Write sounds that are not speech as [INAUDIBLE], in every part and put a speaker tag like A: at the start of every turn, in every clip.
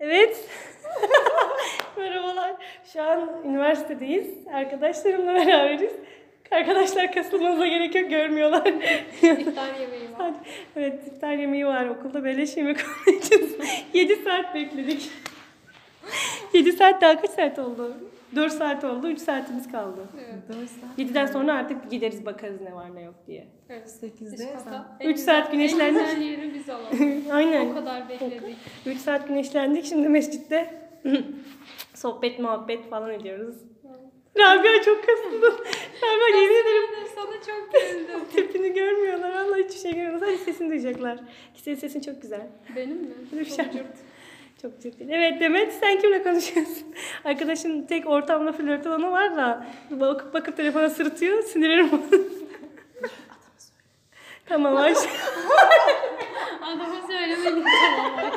A: Evet. [LAUGHS] Merhabalar. Şu an üniversitedeyiz. Arkadaşlarımla beraberiz. Arkadaşlar kasılmanıza gerek yok görmüyorlar.
B: İftar yemeği var.
A: evet iftar yemeği var okulda beleş yemek olduğu [LAUGHS] için 7 saat bekledik. 7 saat daha kaç saat oldu? 4 saat oldu. 3 saatimiz kaldı.
B: Evet.
A: 7'den sonra artık gideriz bakarız ne var ne yok diye.
B: Evet. Üç
C: 8'de
B: kata.
A: Üç saat güneşlendik.
B: En güzel yeri biz alalım. o
A: Aynen.
B: kadar bekledik.
A: 3 saat güneşlendik. Şimdi mescitte [LAUGHS] sohbet muhabbet falan ediyoruz. Rabia çok kasıldı. Rabia yemin ederim
B: Sana çok güldüm.
A: tipini görmüyorlar. Vallahi hiçbir şey görmüyorlar. Sadece sesini duyacaklar. Ki senin sesin çok güzel.
B: Benim mi?
A: Bir şey.
B: Çok cırt.
A: Çok ciddi. Evet Demet sen kimle konuşuyorsun? [LAUGHS] Arkadaşın tek ortamla flört olanı var da bakıp bakıp telefona sırıtıyor. Sinirlerim bozuldu. [LAUGHS] Tamam Ayşe.
B: Adama söylemeyeceğim ama Ayşe.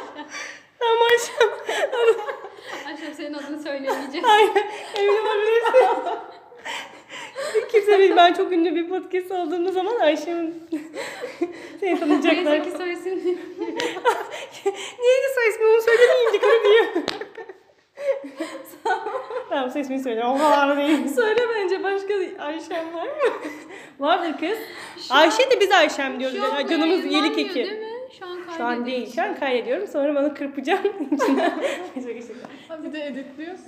A: Tamam Ayşe.
B: Ayşe senin adını söylemeyeceğim.
A: Aynen. Emin olabilirsin. şey. Kimse bilmiyor. Ben çok ünlü bir podcast olduğumuz zaman Ayşe'nin [LAUGHS] seni tanıyacaklar.
B: Neyse ki söylesin.
A: [LAUGHS] Neydi soy ismi onu söylemeyeyim dikkat diyor. [LAUGHS] tamam soy ismini söyle. O kadar değil. söyle bence başka Ayşem var mı? [LAUGHS] Vardır kız. Ayşe de biz Ayşem diyoruz.
B: Şu an
A: Ya, Canımız yelik
B: yayınlanmıyor
A: eki.
B: Değil mi? Şu an kaydediyor.
A: Şu an değil. Şu an kaydediyorum. Sonra bana [LAUGHS] kırpacağım. Şaka şaka.
C: Ha bir de editliyorsun.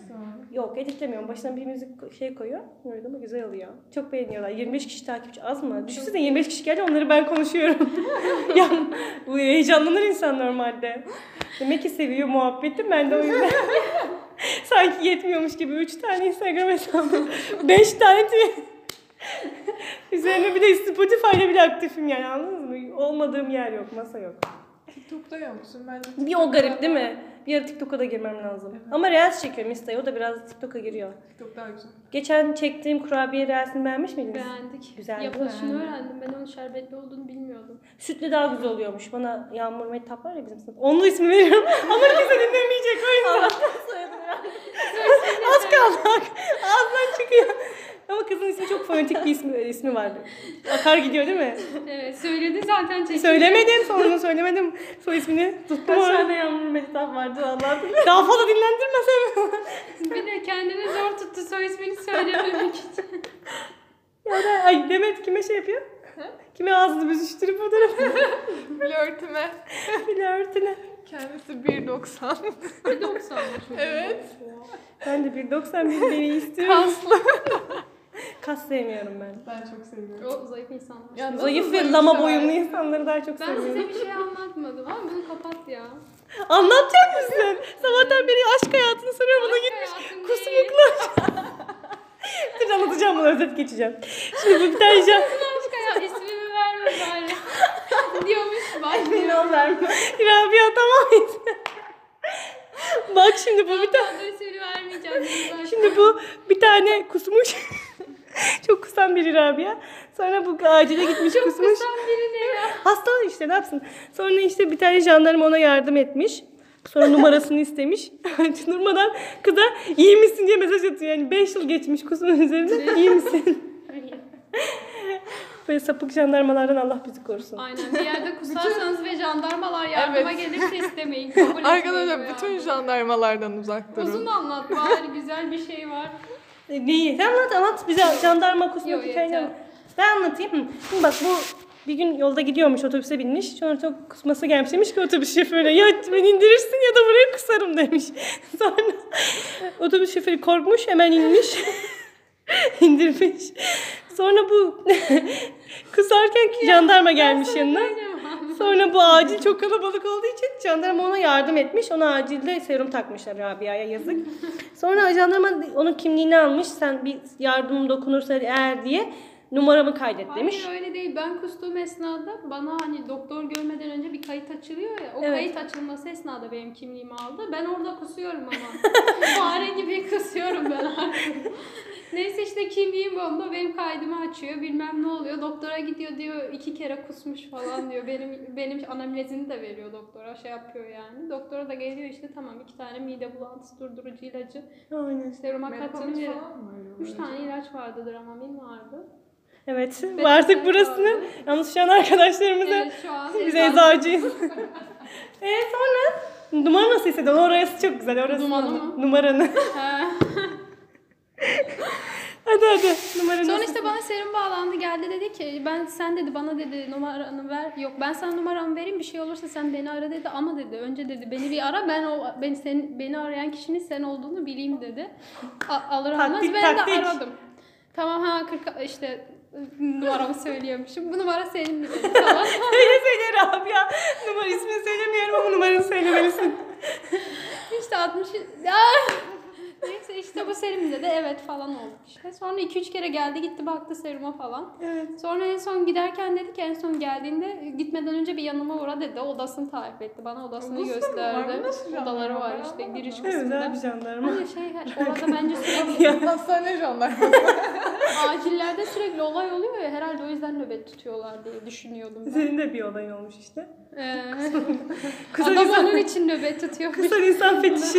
A: Yok editlemiyorum. Başına bir müzik ko- şey koyuyor. Orada ama güzel oluyor. Çok beğeniyorlar. 25 kişi takipçi az mı? Düşünsene 25 kişi geldi onları ben [LAUGHS] konuşuyorum. ya, bu heyecanlanır insan normalde. Demek ki seviyor muhabbeti ben de o [LAUGHS] yüzden. Sanki yetmiyormuş gibi 3 tane Instagram hesabı, 5 tane Twitter. Üzerine bir de Spotify'da bile aktifim yani anladınız mı? Olmadığım yer yok, masa yok.
C: TikTok'ta yoksun. Ben de
A: Bir o garip değil mi? Bir ara TikTok'a da girmem lazım.
C: Evet.
A: Ama Reels çekiyorum Insta'ya, o da biraz TikTok'a giriyor.
C: TikTok daha [LAUGHS] güzel.
A: Geçen çektiğim kurabiye reelsini beğenmiş miydiniz?
B: Beğendik.
A: Güzel.
B: Yapılışını
C: Beğendim.
B: öğrendim. Ben onun şerbetli olduğunu bilmiyordum.
A: Sütlü daha güzel oluyormuş. Bana Yağmur Mehtap var ya bizim sınıf. Onun da
D: [LAUGHS]
A: ismi veriyorum. Ama kimse dinlemeyecek o yüzden. Az kaldı. Ağzından çıkıyor. Ama kızın ismi çok fonetik bir ismi, ismi vardı. Akar gidiyor değil mi?
B: Evet söyledi zaten çekildi.
A: Söylemedin sonunu söylemedim. Soy ismini tuttum.
D: Kaç
A: orada.
D: tane yağmur mehtap vardı
A: [LAUGHS]
D: vallahi.
A: Daha fazla dinlendirmesem.
B: Bir de kendini zor tuttu soy ismini söylememek için.
A: ya da ay Demet kime şey yapıyor? Kime ağzını büzüştürüp o
B: [LAUGHS]
A: tarafa
C: Flörtüme.
A: flörtüne.
C: Kendisi 1.90.
B: 90
C: evet.
A: Ben de 1.91 beni istiyorum.
C: Kaslı.
A: [LAUGHS] Kas sevmiyorum ben.
C: Ben çok seviyorum.
B: O zayıf insanlar.
C: Ya nasıl
A: Zayıf ve
C: zayıf
A: lama
C: sever?
A: boyunlu insanları daha çok
B: Ben
A: seviyorum.
B: size bir şey anlatmadım ama bunu kapat ya.
A: Anlatacak mısın? Sabahtan beri aşk hayatını soruyor bana
B: Aşk
A: gitmiş.
B: hayatım değil.
A: Kusmuklar.
B: [LAUGHS]
A: Dur anlatacağım bunu özet geçeceğim. Şimdi bu bir tane şey-
B: Aşk hayat ismimi verme bari. [LAUGHS] Diyormuş bak diyor.
D: Milyon verme.
A: Rabia tamam yeter. [LAUGHS] Bak şimdi bu bir tane
B: Adresini vermeyeceğim. dedi bak.
A: şimdi bu bir tane kusmuş. [LAUGHS] Çok kusan biri Rabia. Sonra bu acile gitmiş kusmuş.
B: Kusan biri ne ya?
A: Hasta işte ne yapsın. Sonra işte bir tane jandarma ona yardım etmiş. Sonra numarasını istemiş. [LAUGHS] Durmadan kıza iyi misin diye mesaj atıyor. Yani 5 yıl geçmiş kusunun üzerinde. iyi misin? Böyle sapık jandarmalardan Allah bizi korusun.
B: Aynen bir yerde kusarsanız ve jandarmalar yardıma
C: Evet.
B: gelirse istemeyin. Kabul etmeyin bu
C: [LAUGHS] Arkadaşlar bütün
B: yardım.
C: jandarmalardan uzak durun.
B: Uzun anlat bari güzel bir şey var.
A: E, Neyi? Sen anlat anlat bize jandarma kusmak
B: Yok,
A: hikayeni
B: yeter.
A: anlat. Ben anlatayım. Hı. Şimdi bak bu bir gün yolda gidiyormuş otobüse binmiş. Sonra çok kusması gelmiş demiş ki otobüs şoförüne ya beni indirirsin ya da buraya kusarım demiş. [LAUGHS] Sonra otobüs şoförü korkmuş hemen inmiş. [LAUGHS] indirmiş. Sonra bu [LAUGHS] kusarken jandarma gelmiş yanına. Sonra bu acil çok kalabalık olduğu için jandarma ona yardım etmiş. Ona acilde serum takmışlar Rabia'ya yazık. Sonra jandarma onun kimliğini almış. Sen bir yardım dokunursa eğer diye numaramı kaydet demiş.
B: Hayır öyle değil. Ben kustuğum esnada bana hani doktor görmeden önce bir kayıt açılıyor ya. O
A: Evet.
B: kayıt açılması esnada benim kimliğimi aldı. Ben orada kusuyorum ama.
A: [LAUGHS]
B: Fare gibi kusuyorum ben artık. Neyse işte kimliğim onda benim kaydımı açıyor. Bilmem ne oluyor. Doktora gidiyor diyor iki kere kusmuş falan diyor. Benim benim anamnezini de veriyor doktora. Şey yapıyor yani. Doktora da geliyor işte tamam iki tane mide bulantısı durdurucu ilacı.
A: Aynen.
B: Seruma
C: Metakomik
B: katınca.
C: falan mı?
B: Üç tane ilaç vardı. Dramamin vardı.
A: Evet.
B: Betatel
A: Artık burasını
B: vardı.
A: yalnız şu an arkadaşlarımıza [LAUGHS]
B: Evet, şu an
A: biz
B: eczane-
A: eczacıyız. e sonra Numara nasıl hissediyorsun? Orası çok güzel. Orası
B: Dumanı mı?
A: Numaranı. [LAUGHS]
B: Ha.
A: hadi hadi. Numaranı. [LAUGHS]
B: Sonra işte bana serum bağlandı geldi dedi ki ben sen dedi bana dedi numaranı ver. Yok ben sana numaramı vereyim bir şey olursa sen beni ara dedi ama dedi önce dedi beni bir ara ben o ben sen beni arayan kişinin sen olduğunu bileyim dedi. A- alır almaz
A: Taktik,
B: ben
A: taktik.
B: de aradım. Tamam ha 40 işte numaramı söylüyormuşum. Bu numara senin dedi. Tamam.
A: Öyle söyle Rabia. Numara ismini söylemiyorum ama numaranı söylemelisin.
B: İşte 60 Ya! [LAUGHS] Neyse işte bu serimde de evet falan oldu işte. Sonra 2-3 kere geldi gitti baktı seruma falan.
A: Evet.
B: Sonra en son giderken dedi ki en son geldiğinde e, gitmeden önce bir yanıma uğra dedi. Odasını tarif etti bana odasını
C: Odası da mı var? Bu
B: gösterdi.
C: nasıl canlı
B: Odaları
C: ya?
B: var
C: Ben
B: işte
C: anlamadım.
B: giriş
A: Evet
B: kısmında.
A: abi jandarma.
B: Hani şey orada bence
A: [LAUGHS]
B: sürekli
A: Ya.
C: Hastane [LAUGHS] jandarma.
B: acillerde sürekli olay oluyor ya herhalde o yüzden nöbet tutuyorlar diye
A: [LAUGHS]
B: düşünüyordum ben.
A: Senin de bir olayın olmuş işte.
B: Ee,
A: Kısa
B: [LAUGHS] adam
A: insan,
B: onun için nöbet tutuyor.
A: kısa insan
B: [LAUGHS]
A: fetişi.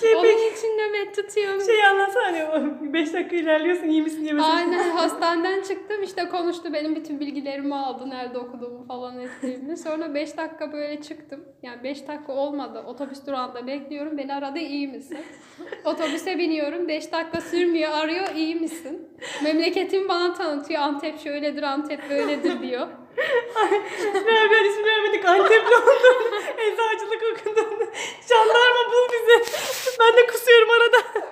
A: şey pek
B: onun için nöbet tutuyor.
A: şey anlatsana hani 5 dakika ilerliyorsun iyi misin diye mesela.
B: Aynen hastaneden çıktım işte konuştu benim bütün bilgilerimi aldı nerede okuduğumu falan ettiğimi. Sonra 5 dakika böyle çıktım. Yani 5 dakika olmadı otobüs durağında bekliyorum beni aradı iyi misin? Otobüse biniyorum 5 dakika sürmüyor arıyor iyi misin? Memleketimi bana tanıtıyor Antep şöyledir Antep böyledir diyor.
A: Berber ismi vermedik. Antepli
B: [LAUGHS]
A: oldun. Eczacılık okudun. Jandarma bul bizi. Ben de kusuyorum arada.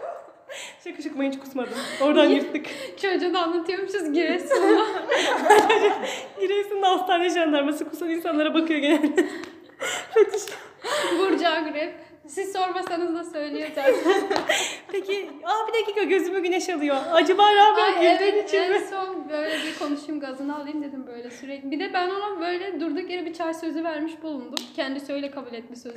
A: Şaka şaka ben hiç kusmadım. Oradan yırttık.
B: Çocuğa da anlatıyormuşuz Giresun'da.
A: Giresun'da hastane jandarması kusan insanlara bakıyor genelde. Fetiş.
B: Burcu Agrep. Siz sormasanız da söylüyor zaten.
A: Peki, aa bir dakika gözümü güneş alıyor. Acaba Rabia
B: Ay
A: girdiğin
B: evet
A: için
B: en
A: mi?
B: son böyle bir konuşayım gazını alayım dedim böyle sürekli. Bir de ben ona böyle durduk yere bir çay sözü vermiş bulundum. Kendisi öyle kabul
A: [LAUGHS]
B: etmiş sözü.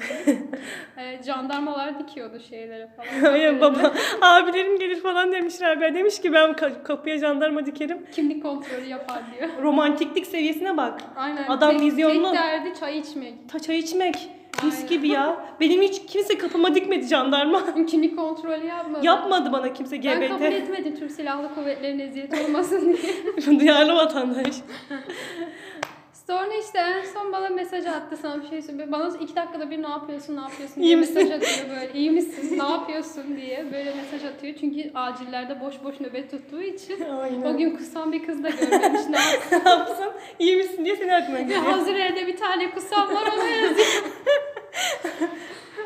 B: ee, jandarmalar dikiyordu şeylere falan.
A: Aynen baba. Abilerim gelir falan demiş Rabia. Demiş ki ben ka- kapıya jandarma dikerim.
B: Kimlik kontrolü yapar diyor.
A: Romantiklik seviyesine bak.
B: Aynen.
A: Adam
B: tek,
A: vizyonlu.
B: Tek derdi çay içmek.
A: Ta çay içmek. Mis
B: Aynen.
A: gibi ya. Benim hiç kimse kapıma dikmedi jandarma.
B: Kimlik kontrolü yapmadı.
A: Yapmadı bana kimse
B: Ben kabul
A: GBT.
B: etmedim Türk Silahlı Kuvvetleri'nin eziyet olmasın
A: [LAUGHS]
B: diye.
A: Duyarlı vatandaş.
B: Sonra işte en son bana mesaj attı sana bir şey söylüyor. Bana iki dakikada bir ne yapıyorsun ne yapıyorsun
A: İyi
B: diye
A: misin?
B: mesaj atıyor böyle. İyi misin ne yapıyorsun diye böyle mesaj atıyor. Çünkü acillerde boş boş nöbet tuttuğu için. O
A: Aynen.
B: gün kusan bir kız da görmemiş ne yapsın.
A: ne yapsın? İyi misin diye seni aklına [LAUGHS]
B: Bir
A: geliyor.
B: hazır evde bir tane kusan var ona
A: [LAUGHS]
B: yazıyor.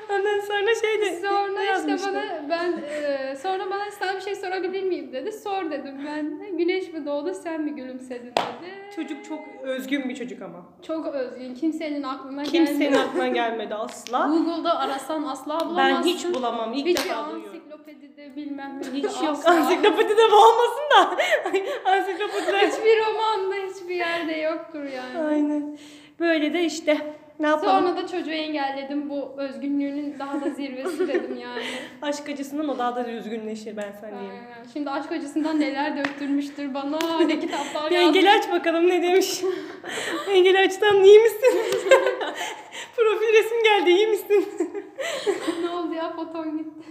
A: Ondan sonra şey de ne
B: Sonra işte
A: yazmıştı?
B: bana ben e, sonra bana sana bir şey sorabilir miyim dedi. Sor dedim ben de. Güneş mi doğdu sen mi gülümsedin dedi.
A: Çocuk çok özgün bir çocuk ama.
B: Çok özgün kimsenin aklına
A: Kimsenin
B: gelmedi.
A: aklına gelmedi asla.
B: Google'da arasan asla bulamazsın. şey
A: Ben hiç bulamam. İlk
B: Hiç
A: defa duyuyorum.
B: ansiklopedide bilmem ne.
A: Hiç yok.
B: [LAUGHS] asla.
A: Ansiklopedide bu olmasın da. [LAUGHS] Ansiklopediler.
B: Hiçbir romanda hiçbir yerde yoktur yani.
A: Aynen. Böyle de işte. Ne yapalım?
B: Sonra da çocuğu engelledim. Bu özgünlüğünün daha da zirvesi dedim yani.
A: [LAUGHS] Aşk acısından o daha da üzgünleşir ben sana diyeyim.
B: Aynen. Şimdi aşk acısından neler döktürmüştür bana.
A: [LAUGHS]
B: Ne kitaplar
A: Bir engeli aç bakalım ne
B: [LAUGHS]
A: demiş. engeli açtan iyi misin? [LAUGHS] Profil resim geldi iyi misin?
B: yazmış. Ne oldu ya foton gitti.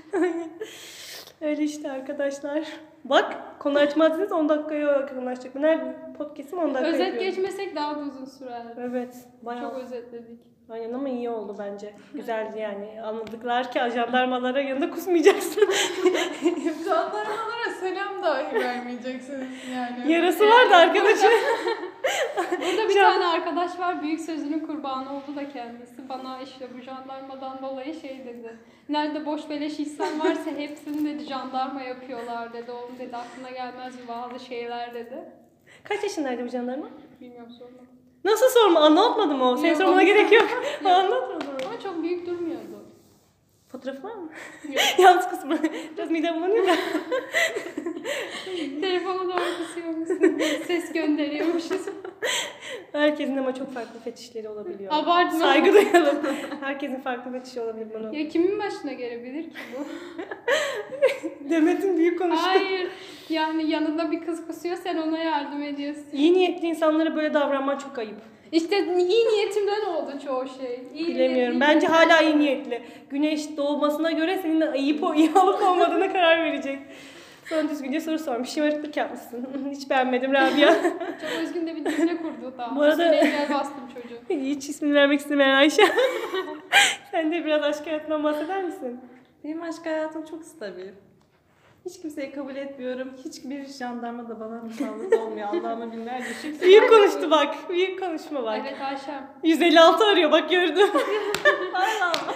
A: Öyle işte arkadaşlar. Bak konu açmadınız 10 dakikaya yakınlaştık. Nerede podcast'im 10 dakika
B: Özet
A: yapıyorum.
B: geçmesek daha da uzun sürer.
A: Evet. Bayağı.
B: Çok özetledik.
A: Aynen ama iyi oldu bence. Güzeldi yani. Anladıklar ki jandarmalara yanında kusmayacaksın.
C: Jandarmalara selam dahi vermeyeceksiniz yani.
A: Yarası vardı arkadaşım.
B: Burada bir
A: Şu an-
B: tane arkadaş var büyük sözünün kurbanı oldu da kendisi. Bana işte bu jandarmadan dolayı şey dedi. Nerede boş beleş insan varsa hepsini dedi jandarma yapıyorlar dedi. Oğlum dedi aklına gelmez mi bazı şeyler dedi.
A: Kaç yaşındaydı bu jandarma?
B: Bilmiyorum sormadım.
A: Nasıl sorma? Anlatmadı mı o? Senin
B: Yok,
A: sormana
B: anlatmadı.
A: gerek yok.
B: [LAUGHS]
A: Anlatmadı mı?
B: Ama çok büyük durmuyordu. [LAUGHS]
A: Fotoğrafı var mı?
B: Yok.
A: [LAUGHS] Yalnız kısmı. Biraz midem bulanıyor da.
B: Telefona doğru kısıyormuşsun. Ses gönderiyormuşuz.
A: Herkesin ama çok farklı fetişleri olabiliyor.
B: Abartma.
A: Saygı duyalım. Herkesin farklı fetişi olabilir bunu.
B: Ya kimin başına gelebilir ki bu?
A: Demet'in büyük konuştu.
B: Hayır. Yani yanında bir kız kusuyor sen ona yardım ediyorsun.
A: İyi niyetli insanlara böyle davranman çok ayıp.
B: İşte iyi niyetimden oldu çoğu şey. İyi
A: Bilemiyorum.
B: niyet-
A: Bence hala iyi niyetli. Güneş doğmasına göre senin de ayıp o- [LAUGHS] iyi olup olmadığına karar verecek. Sonra düzgünce soru sormuş. Şımarıklık yapmışsın. [LAUGHS] Hiç beğenmedim Rabia.
B: Çok özgün de bir cümle kurdu daha.
A: Bu arada-
B: Üstüne el bastım çocuğu.
A: Hiç ismini vermek istemeyen Ayşe. [LAUGHS] Sen de biraz aşk hayatından bahseder misin?
D: Benim aşk hayatım çok stabil. Hiç kimseyi kabul etmiyorum. Hiçbir jandarma da bana musallat olmuyor. Allah'ıma binler düşük.
A: [LAUGHS] Büyük konuştu bak. Büyük konuşma bak.
B: Evet Ayşem.
A: 156 arıyor
D: [LAUGHS]
A: bak gördüm.
D: Allah Allah.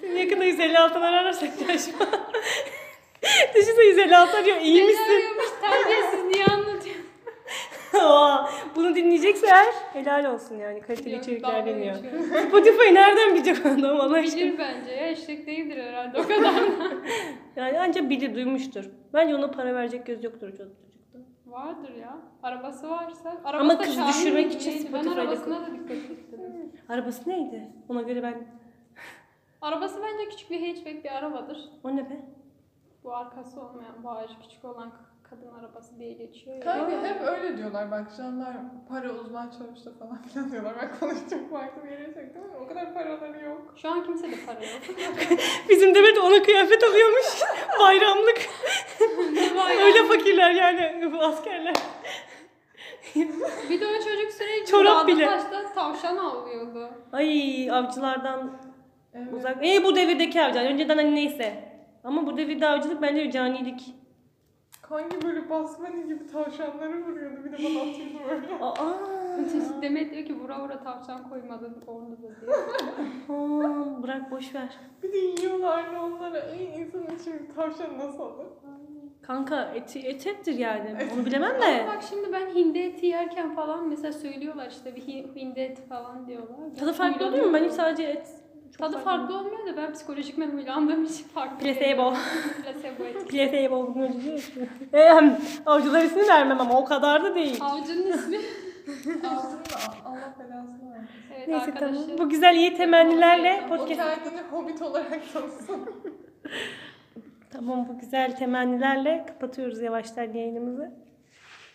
A: Seni yakında 156 ararsak şaşma. [LAUGHS] Düşünsene 156 arıyor. İyi
B: Beni
A: misin?
B: arıyormuş terbiyesiz niye anlatıyorsun?
A: [LAUGHS] Aa, Bunu dinleyecekse eğer helal olsun yani. Kaliteli içerikler
B: Dalga
A: dinliyor.
B: geçiyorum.
A: Spotify nereden bilecek adam Allah aşkına?
B: Bilir bence ya eşlik değildir herhalde o kadar. [LAUGHS]
A: Yani ancak bilir, duymuştur. Bence ona para verecek göz yoktur o çocukta.
B: Vardır ya. Arabası varsa. Arabası
A: Ama
B: da
A: kız
B: Şahin
A: düşürmek
B: miydi
A: için
B: neydi? Ben
A: Spotify'da
B: arabasına da dikkat ettim.
A: Arabası neydi? Ona göre ben...
B: Arabası bence küçük bir hatchback bir arabadır.
A: O ne be?
B: Bu arkası olmayan, bu ağacı küçük olan kadın arabası diye geçiyor. ya.
C: Kanka hep öyle diyorlar bak jandarma para uzman çalıştı falan filan diyorlar. Ben konuştum farklı bir yere çektim ama o kadar paraları yok.
B: Şu an kimse de para
A: [LAUGHS]
B: yok.
A: Bizim Demet ona kıyafet alıyormuş. [LAUGHS] Bayramlık. Öyle fakirler yani [LAUGHS] bu askerler.
B: bir de o çocuk sürekli
A: Çorap
B: dağda
A: bile.
B: taşta tavşan avlıyordu.
A: Ay avcılardan
C: Evet.
A: uzak. E bu devirdeki avcılar. Önceden hani neyse. Ama bu devirde avcılık bence canilik.
C: Kanki böyle basmani gibi tavşanları vuruyordu bir de bana atıyordu böyle. [LAUGHS]
A: Aa. Aa,
B: Demet diyor ki vura vura tavşan koymadın orada da diye.
A: bırak boş ver.
C: Bir de yiyorlardı onlara. Ey insanın için tavşan nasıl olur?
A: Kanka eti, et ettir yani. Onu bilemem de.
B: Bak şimdi ben hindi eti yerken falan mesela söylüyorlar işte bir hi- hindi eti falan diyorlar.
A: Tadı farklı oluyor mu? Ben hiç sadece et. Çok
B: Tadı farklı olmuyor da ben psikolojik ben huylandığım için farklı.
A: Placebo. [LAUGHS]
B: Placebo eti.
A: Plaseye [LAUGHS] bozmuyor diyor. Ehem, Ehm, avcılar ismi vermem ama o kadar da değil. [LAUGHS]
B: Avcının ismi.
C: Ağzını Allah belasını versin.
B: Evet
A: Neyse
B: arkadaşlar.
A: tamam. Bu güzel iyi temennilerle
C: O
A: podcast.
C: kendini hobbit olarak tanısın.
A: Tamam bu güzel temennilerle kapatıyoruz yavaştan yayınımızı.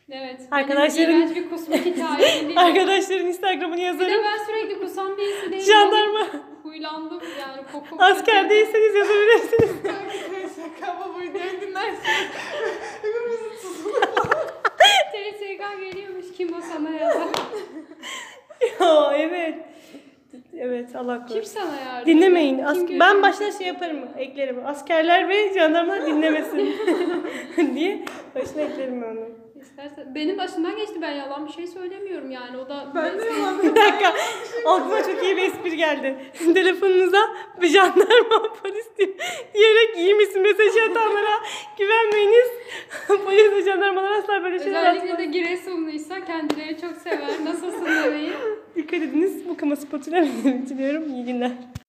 B: Evet.
A: Arkadaşların-
B: Benim iğrenç bir
A: [LAUGHS]
B: kusmak hikayem değil.
A: Arkadaşların Instagram'ını
B: Bir
A: yazarım.
B: de ben sürekli kusan birisi değilim.
A: Jandarma.
B: Huylandım yani koku.
A: Askerdeyseniz yazabilirsiniz. [LAUGHS]
C: Şaka ama bu videoyu dinlersin.
B: [LAUGHS] TSK geliyormuş kim o sana yazar.
A: Aa, evet. Evet Allah
B: kim
A: korusun.
B: sana yardım?
A: Dinlemeyin.
B: Kim
A: As-
B: görüyor?
A: ben başta şey yaparım, eklerim. Askerler ve jandarmalar
B: [LAUGHS]
A: dinlemesin [LAUGHS] diye başına eklerim onu.
B: İstersen. Benim başımdan geçti ben yalan bir şey söylemiyorum yani o da.
C: Ben de
B: [LAUGHS]
C: yalan
A: Bir dakika. Aklıma çok iyi bir espri geldi. [LAUGHS] Telefonunuza bir jandarma [LAUGHS] polis diye- diyerek iyi misin mesajı atanlara güvenmeyiniz. [LAUGHS] polis ve jandarmalar asla böyle şeyler
B: Özellikle
A: atmaz.
B: de Giresunluysa kendileri çok sever. Nasılsın demeyi.
A: [LAUGHS] Dikkat ediniz. Bu kama spotuna bitiriyorum. İyi günler.